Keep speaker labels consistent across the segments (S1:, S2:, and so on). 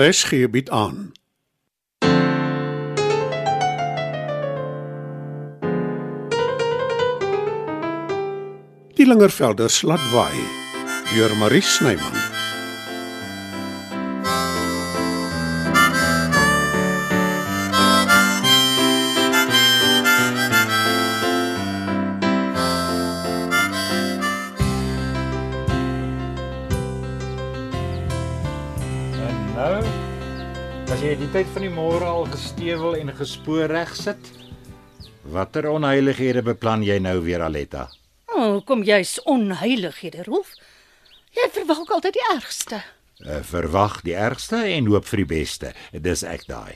S1: RSG bied aan. Die Lingervelders laat waai deur Marie Snyman.
S2: En nou, as jy die tyd van die môre al gestewel en gespoor reg sit, watter onheilighede beplan jy nou weer Aletta?
S3: O, oh, kom jy's onheilighede, Rolf. Jy verwag altyd die ergste.
S2: Uh, Verwag die ergste en hoop vir die beste. Dis ek daai.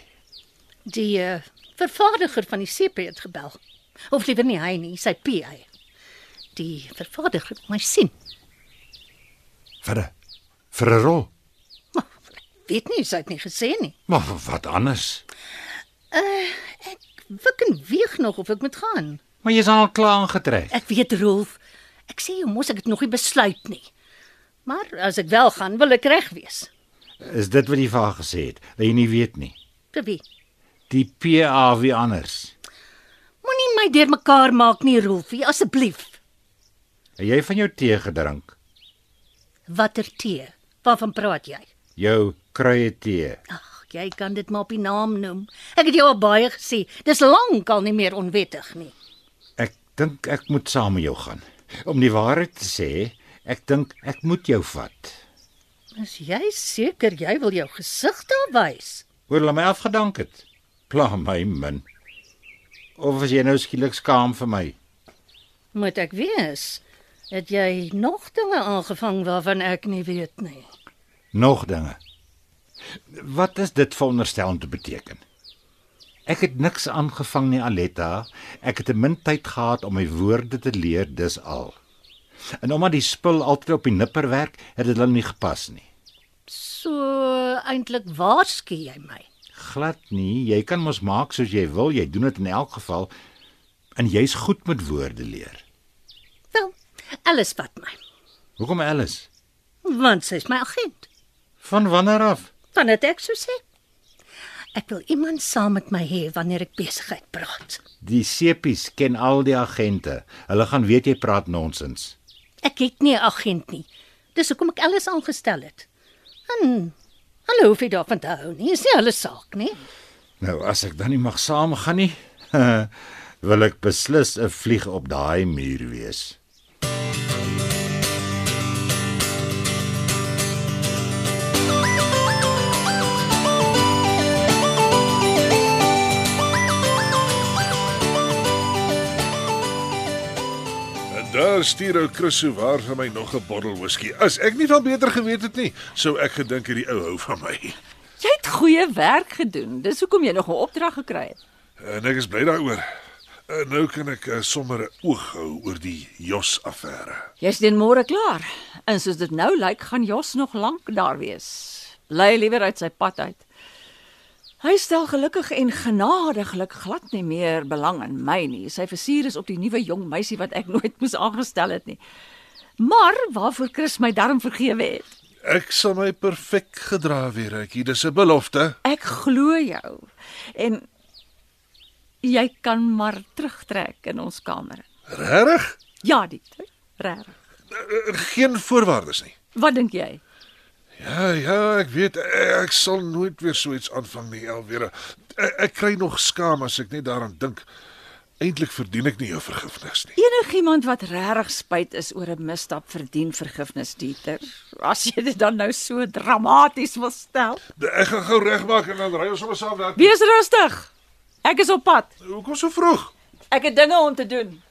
S3: Die uh, vervaardiger van die CP het gebel. Of liewer nie hy nie, sy PA. Die vervaardiger wil my sien.
S2: Vir 'n vir 'n rol.
S3: Maar ek weet nie, sy het nie gesê nie.
S2: Maar vir wat anders?
S3: Ek wik en weeg nog of ek moet gaan.
S2: Maar jy's al klaar aangetrek.
S3: Ek weet, Rolf. Ek sê jy mos ek het nog nie besluit nie. Maar as ek wel gaan, wil ek reg wees.
S2: Is dit wat jy vir haar gesê het? Dat jy nie weet nie.
S3: Vir wie?
S2: Die PA wie anders.
S3: Moenie my deurmekaar maak nie, Rolfie, asseblief.
S2: Het jy van jou tee gedrink?
S3: Watter tee? Waarvan praat jy?
S2: Jou kruie tee.
S3: Ag, jy kan dit maar op die naam noem. Ek het jou al baie gesê, dis lankal nie meer onwettig nie.
S2: Ek dink ek moet saam met jou gaan. Om die waarheid te sê, ek dink ek moet jou vat.
S3: Is jy seker jy wil jou gesig daar wys?
S2: Hoor hulle my afgedank het. Pla my min. Of as jy nou skielik skaam vir my.
S3: Moet ek weet, het jy nog dinge aangevang waarvan ek nie weet nie?
S2: Nog dinge. Wat is dit veronderstel om te beteken? Ek het niks aangevang nie, Aletta. Ek het 'n min tyd gehad om my woorde te leer, dis al. En omdat die spul altyd op die nipper werk, het dit hulle nie gepas nie.
S3: So eintlik waarsku jy my.
S2: Glad nie. Jy kan mos maak soos jy wil. Jy doen dit in elk geval. En jy's goed met woorde leer.
S3: Wel, alles vat my,
S2: Hoekom alles?
S3: want sy's my agent.
S2: Van wanneer af?
S3: Van dit ek so sê. Ek wil iemand saam met my hê wanneer ek besigheid praat.
S2: Die sepies ken al die agente. Hulle gaan weet jy praat nonsens.
S3: Ek het nie 'n agent nie. Dis hoekom ek alles aangestel het. En hulle hoef nie daarvan te hou nie. Is nie hulle saak nie.
S2: Nou as ek dan nie mag saamgaan nie, wil ek beslis 'n vlieg op daai muur wees.
S4: En daar stuur ou Chriso waar vir my nog 'n bottel whisky. As ek nie van beter geweet het nie, sou ek gedink hierdie ou hou van my.
S5: Jy het goeie werk gedoen. Dis hoekom jy nog 'n opdrag gekry het.
S4: En ek is bly daaroor. En nou kan ek uh, sommer 'n oog hou oor die Jos affære.
S5: Jy's teen môre klaar. En soos dit nou lyk, gaan Jos nog lank daar wees. Bly liewer uit sy pad uit. Hy stel gelukkig en genadiglik glad nie meer belang in my nie. Sy versuur is op die nuwe jong meisie wat ek nooit moes aangestel het nie. Maar waarvoor Chris my darm vergewe het.
S4: Ek sal my perfek gedra weer, ek. Dis 'n belofte.
S5: Ek glo jou. En jy kan maar terugtrek in ons kamer.
S4: Regtig?
S5: Ja, dit. Regtig.
S4: Eh, eh, Geen voorwaardes nie.
S5: Wat dink jy?
S4: Ja, ja, ek weet eh, ek sal nooit weer so iets aanvang nie, Elwera. Ek, ek kry nog skaam as ek net daaraan dink. Eintlik verdien ek nie jou vergifnis nie.
S5: Enigiemand wat regtig spyt is oor 'n misstap verdien vergifnis, Dieter. As jy dit dan nou so dramaties wil stel.
S4: Ek gaan gou regmaak en dan ry ons sommer saam daar.
S5: Wees rustig. Ek is op pad.
S4: Hoekom so vroeg?
S5: Ek het dinge om te doen.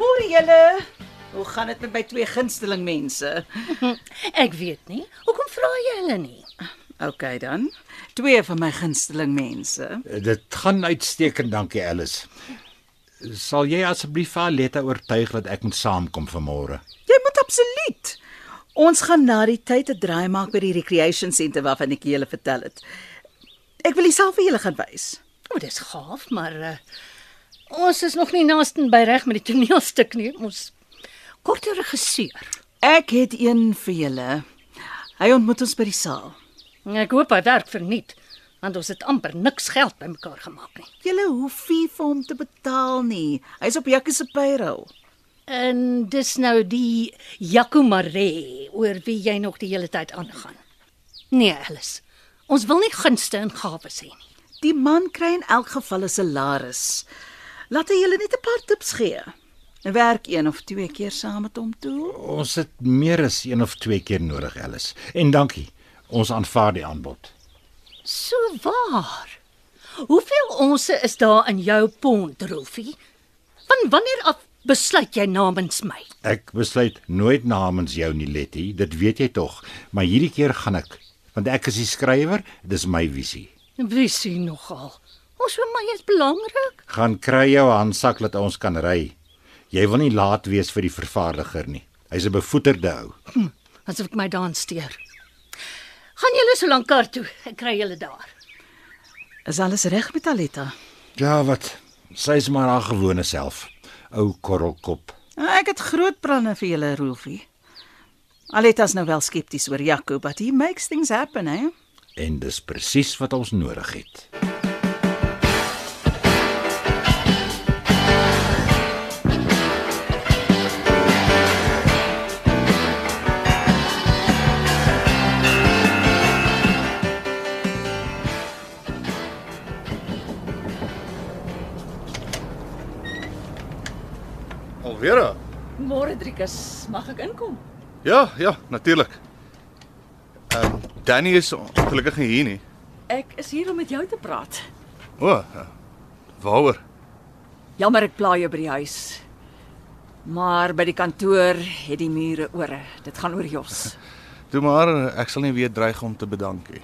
S6: Môre julle. Hoe gaan dit met my twee gunsteling mense?
S3: Ek weet nie. Hoekom vra jy hulle nie?
S6: OK dan. Twee van my gunsteling mense.
S2: Dit gaan uitstekend, dankie Alice. Sal jy asseblief vir Aletta oortuig dat ek moet saamkom vanmôre?
S6: Jy moet absoluut. Ons gaan na die tyd 'n draai maak by die recreation center waarvan ek julle vertel het.
S7: Ek wil dit self vir julle gaan wys.
S3: O, dis gaaf, maar uh, ons is nog nie naasten by reg met die toneelstuk nie. Ons korte regisseur.
S7: Ek het een vir julle. Hy ontmoet ons by die saal.
S3: Ek hoop hy werk verniet, want ons het amper niks geld bymekaar gemaak nie.
S7: Julle hoef nie vir hom te betaal nie. Hy's op Jakkie se payroll.
S3: En dis nou die Jaco Maree oor wie jy nog die hele tyd aangaan. Nee, Alice. Ons wil nie gunste en gawes hê nie.
S7: Die man kry in elk geval 'n salaris. Laat hy julle net 'n paar tips gee. En werk een of twee keer saam met hom toe.
S2: Ons het meer as een of twee keer nodig, Alice. En dankie. Ons aanvaar die aanbod.
S3: So waar. Hoeveel onsse is daar in jou pond, Rolfie? Van wanneer af besluit jy namens my?
S2: Ek besluit nooit namens jou nie, Letty. Dit weet jy tog, maar hierdie keer gaan ek, want ek is die skrywer, dis my visie.
S3: Wie sien nogal? Ons vir my is belangrik.
S2: Gaan kry jou handsak dat ons kan ry. Jy wil nie laat wees vir die vervaardiger nie. Hy's 'n bevoeterde ou.
S3: Asof ek my daan steur. Gaan julle so lank kar toe. Ek kry julle daar.
S7: Is alles reg met Aletta?
S2: Ja, wat? Sy's maar haar gewone self. Ou korrelkop.
S7: Ah, Ek het groot planne vir julle, Rolfie. Aletta's nou wel skepties oor Jaco, but he makes things happen, hè?
S2: En dis presies wat ons nodig het.
S8: Alwera.
S5: Môre Driekus, mag ek inkom?
S8: Ja, ja, natuurlik. Ehm um, Danny is ongelukkig nie hier nie.
S5: Ek is hier om met jou te praat.
S8: O. ja. Waaroor?
S5: Jammer ek pla jou by die huis. Maar by die kantoor het die mure ore. Dit gaan oor Jos.
S8: Toe maar eh, ek sal nie weer dreig om te bedank nie.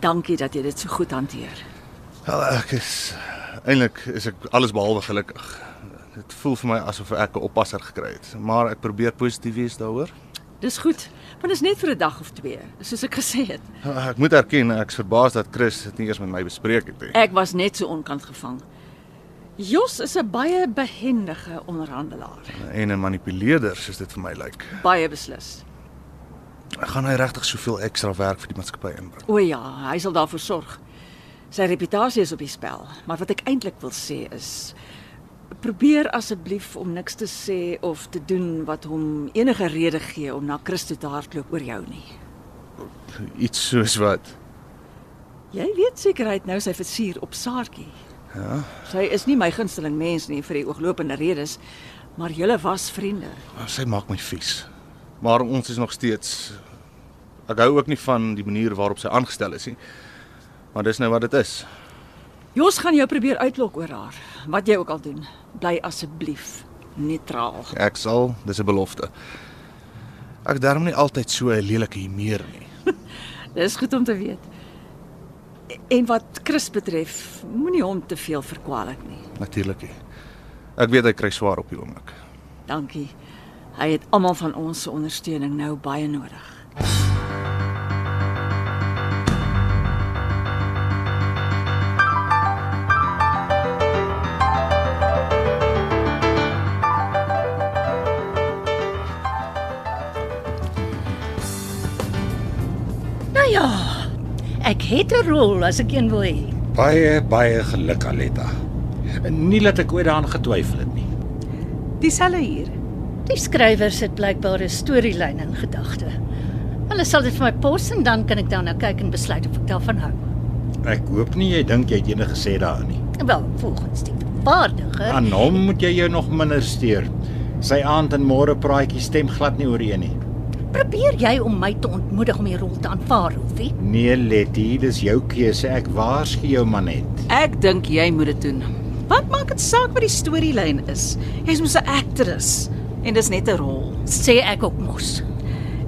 S5: Dankie dat jy dit so goed hanteer.
S8: Wel, ek is eintlik is ek alles behalwe gelukkig. Dit voel vir my asof ek 'n oppasser gekry het, maar ek probeer positief wees daaroor.
S5: Dis goed, want dit is net vir 'n dag of twee, soos ek gesê het.
S8: Ah, Ek moet erken ek's verbaas dat Chris dit nie eers met my bespreek het nie.
S5: Ek was net so onkant gevang. Jos is 'n baie behendige onderhandelaar,
S8: En 'n manipuleerder soos dit vir my lyk.
S5: baie beslis.
S8: Gaan hy regtig soveel ekstra werk vir die maatskappy inbring?
S5: O ja, hy sal daarvoor sorg. Sy reputasie is op die spel, maar wat ek eintlik wil sê is probeer asseblief om niks te sê of te doen wat hom enige rede gee om na Christo te hardloop oor jou nie.
S8: Iets soos wat?
S5: Jy weet seker hy het nou sy versier op saartjie.
S8: Ja.
S5: Sy is nie my gunsteling mens nie vir die ooglopende redes, maar julle was vriende.
S8: Maar Sy maak my vies. Maar ons is nog steeds ek hou ook nie van die manier waarop sy aangestel is nie. Maar dis nou wat dit is.
S5: Jos gaan jou probeer uitlok oor haar. Wat jy ook al doen, bly asseblief neutraal.
S8: Ek sal, dis 'n belofte. Ek darm nie altyd so 'n lelike humeur nie.
S5: Dis goed om te weet. En wat Chris betref, moenie hom te veel verkwalik nie.
S8: Natuurlik nie. Ek weet hy kry swaar op die oomblik.
S5: Dankie. Hy het almal van ons se ondersteuning nou baie nodig.
S3: Nou ja. Ek het 'n rol as ek een wil hê.
S2: Baie baie geluk, Aletta. Nie dat ek ooit daaraan getwyfel het nie.
S7: Dieselfde hier.
S3: Die skrywers het blykbaar 'n storielyn in gedagte. Hulle sal dit vir my pos en dan kan ek daarna kyk en besluit of ek daarvan hou.
S2: Ek hoop nie jy dink jy het enige sê daarin nie.
S3: Wel, volgens die vervaardiger.
S2: Aan hom moet jy jou nog minder steur. Sy aand en môre praatjie stem glad nie ooreen nie.
S3: Probeer jy om my te ontmoedig om die rol te aanvaar, Rolfie?
S2: Nee, Letty, dis jou keuse. Ek waarsku jou maar net.
S7: Ek dink jy moet dit doen. Wat maak dit saak wat die storielyn is? Jy's mos 'n aktris en dis net 'n rol.
S3: Sê ek ook mos.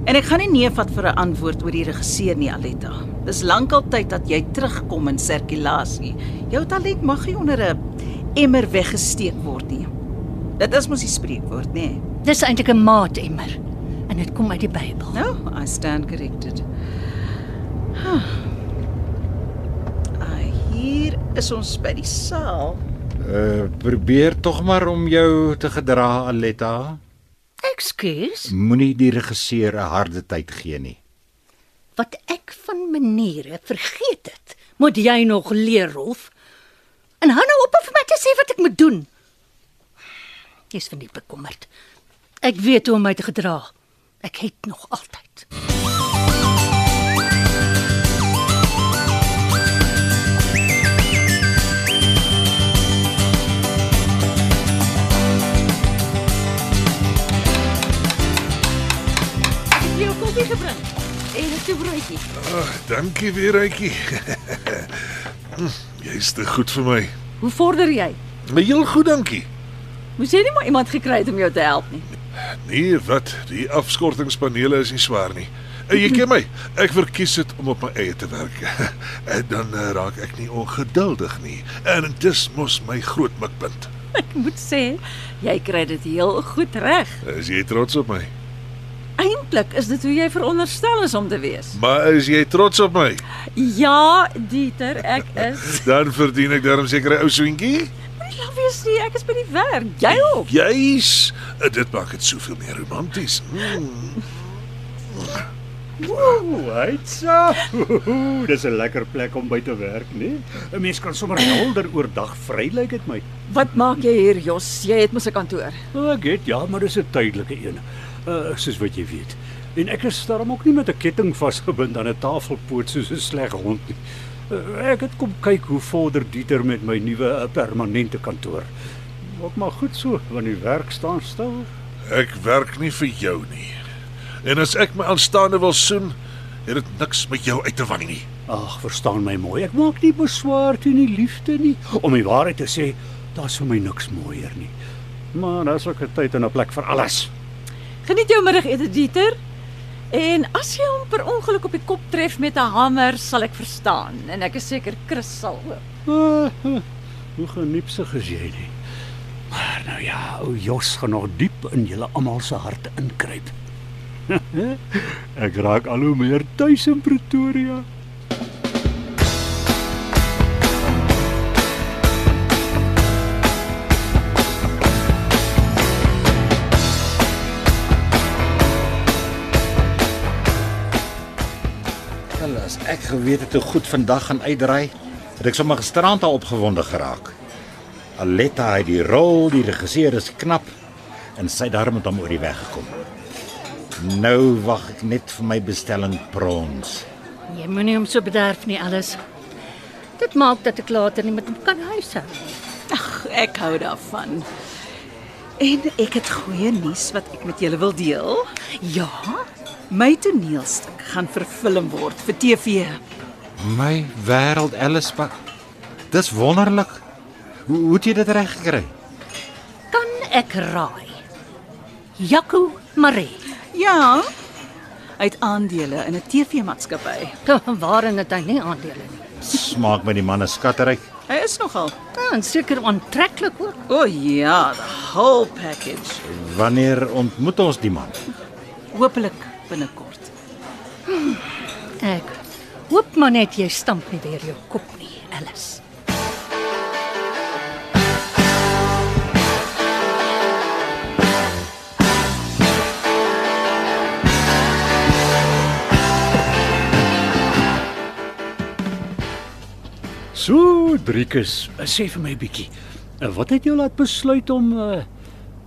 S7: En ek gaan nie nee vat vir 'n antwoord oor die regisseur nie, Aletta. Dis lankal tyd dat jy terugkom in sirkulasie. Jou talent mag nie onder 'n emmer weggesteek word nie. Dit is mos die spreekwoord, nê? Nee?
S3: Dis eintlik 'n maat emmer en dit kom uit die Bybel.
S7: Nou, No, I stand corrected. Huh. is ons by die saal.
S2: Uh, probeer tog maar om jou te gedra, Aletta.
S3: Ekskuus,
S2: Moenie die regisseur 'n harde tyd gee nie.
S3: wat ek van maniere vergeet het. Moet jy nog leer, Rolf? En hou nou op om vir my te sê wat ek moet doen. Jy's van nie bekommerd. Ek weet hoe om my te gedra. Ek het nog altyd.
S5: Ek het jou koffie gebring en 'n toebroodjie.
S4: Dankie weer, Rytjie. Mm, Jy's te goed vir my.
S5: Hoe vorder jy?
S4: Maar heel goed, dankie.
S5: Moes jy nie maar iemand gekry het om jou te help nie.
S4: Nee, wat? Die afskortingspanele is nie swaar nie. Eh, Jy ken my. Ek verkies dit om op my eie te werk. En dan eh, raak ek nie ongeduldig nie. En dis mos my groot mikpunt.
S5: Ek moet sê, jy kry dit heel goed reg.
S4: Is jy trots op my?
S5: Eintlik is dit hoe jy veronderstel is om te wees.
S4: Maar is jy trots op my?
S5: Ja, Dieter, ek is.
S4: Dan verdien ek daarom seker 'n ou soentjie.
S5: Ek love jy sê ek is by die werk. Jy ook.
S4: Juis. Eh, Dit maak dit soveel meer romanties. Mm.
S9: Houtsa. Dis 'n lekker plek om by te werk, né? 'n Mens kan sommer helder oordag vry lyk dit my.
S5: Wat maak jy hier, Jos? Jy het mos 'n kantoor.
S9: O, Ek weet ja, maar dis 'n tydelike een. Uh soos wat jy weet. En ek is daarom ook nie met 'n ketting vasgebind aan 'n tafelpoot soos 'n sleg hond nie. Uh, ek het kom kyk hoe vorder Dieter met my nuwe uh, permanente kantoor. Ook maar goed so, want die werk staan stil.
S4: Ek werk nie vir jou nie. En as ek my aanstaande wil soen, het dit niks met jou uit te wang nie.
S9: Ag, verstaan my mooi. Ek maak nie beswaar teen die liefde nie. Om die waarheid te sê, daar's vir my niks mooier nie. Maar daar's ook 'n tyd en 'n plek vir alles.
S5: Geniet jou middagete, Dieter. En as jy hom per ongeluk op die kop tref met 'n hamer, sal ek verstaan en ek is seker Chris sal ook.
S9: Ah, ah, hoe geniepsig is jy nie. Maar nou ja, ou Jos gaan nog diep in julle almal se harte inkruip. ek raak al hoe meer tuis in Pretoria.
S2: Wel, as ek geweet het hoe goed vandag gaan uitdraai, het ek sommer gisterand al opgewonde geraak. Aletta het die rol, die regisseur is knap en sy het daarom met hom oor die weg gekom. Nou wag ek net vir my bestelling prawns.
S3: Jy Nee, moenie hom so bederf nie, alles. Dit maak dat ek later nie met hom kan huishou.
S7: Ag, ek hou daarvan. En ek het goeie nuus wat ek met julle wil deel.
S3: Ja,
S7: My toneelstuk gaan verfilm word vir TV.
S2: My wêreld Alice, pa- dis wonderlik. Hoe hoe het jy dit reg gekry?
S3: kan ek raai. Jaco Maree.
S7: Ja. Uit aandele in 'n TV-maatskappy.
S3: Waarin het hy nie aandele nie.
S2: Smaak my die man is skatteryk.
S7: Hy is nogal.
S3: Ja, en seker aantreklik ook.
S7: O oh, ja, the whole package.
S2: Wanneer ontmoet ons die man?
S7: Hoopelik binnekort.
S3: Ek hoop maar net jy stamp nie weer jou kop nie, Alice.
S9: So, Driekus, sê vir my 'n bietjie. eh, Wat het jou laat besluit om uh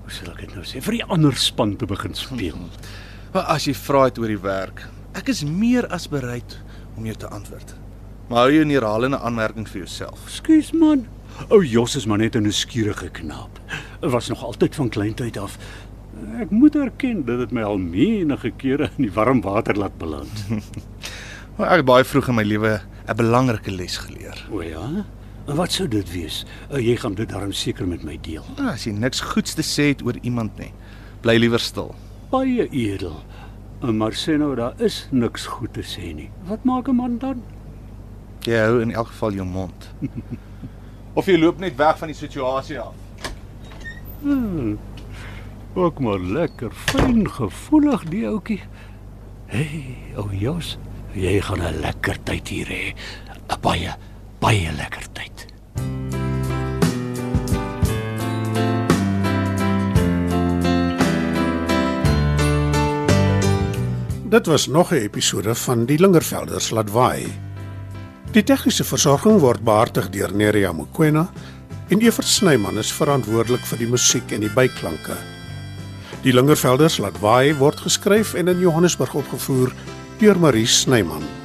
S9: hoe sal ek dit nou sê, vir die ander span te begin speel?
S8: Maar as jy vra het oor die werk, ek is meer as bereid om jou te antwoord. Maar hou jou nie herhalende aanmerking vir jouself.
S9: Ekskuus man. Ou Jos is maar net 'n nuuskierige knaap. Was nog altyd van kleintyd af. Ek moet erken dat dit my al menige kere in die warm water laat beland.
S8: Maar ek het baie vroeg in my lewe 'n belangrike les geleer.
S9: O ja. En Wat sou dit wees? Eh, Jy gaan dit darm seker met my deel.
S8: Nou, As jy niks goeds te sê het oor iemand nie, bly liewer stil.
S9: Baie edel. Eh, Maar sê nou daar is niks goed te sê nie. Wat maak 'n man dan?
S8: Jy hou in elk geval jou mond. Of jy loop net weg van die situasie af.
S9: Hm. Ook maar lekker fyn gevoelig die ouetjie. Hey, ou Jos, jy gaan 'n lekker tyd hier hê. 'n Baie, baie lekker tyd.
S1: Dit was nog 'n episode van Die Lingervelders laat waai. Die tegniese versorging word behartig deur Neriya Mkwena en Evert Snyman is verantwoordelik vir die musiek en die byklanke. Die Lingervelders laat waai word geskryf en in Johannesburg opgevoer deur Marie Snyman.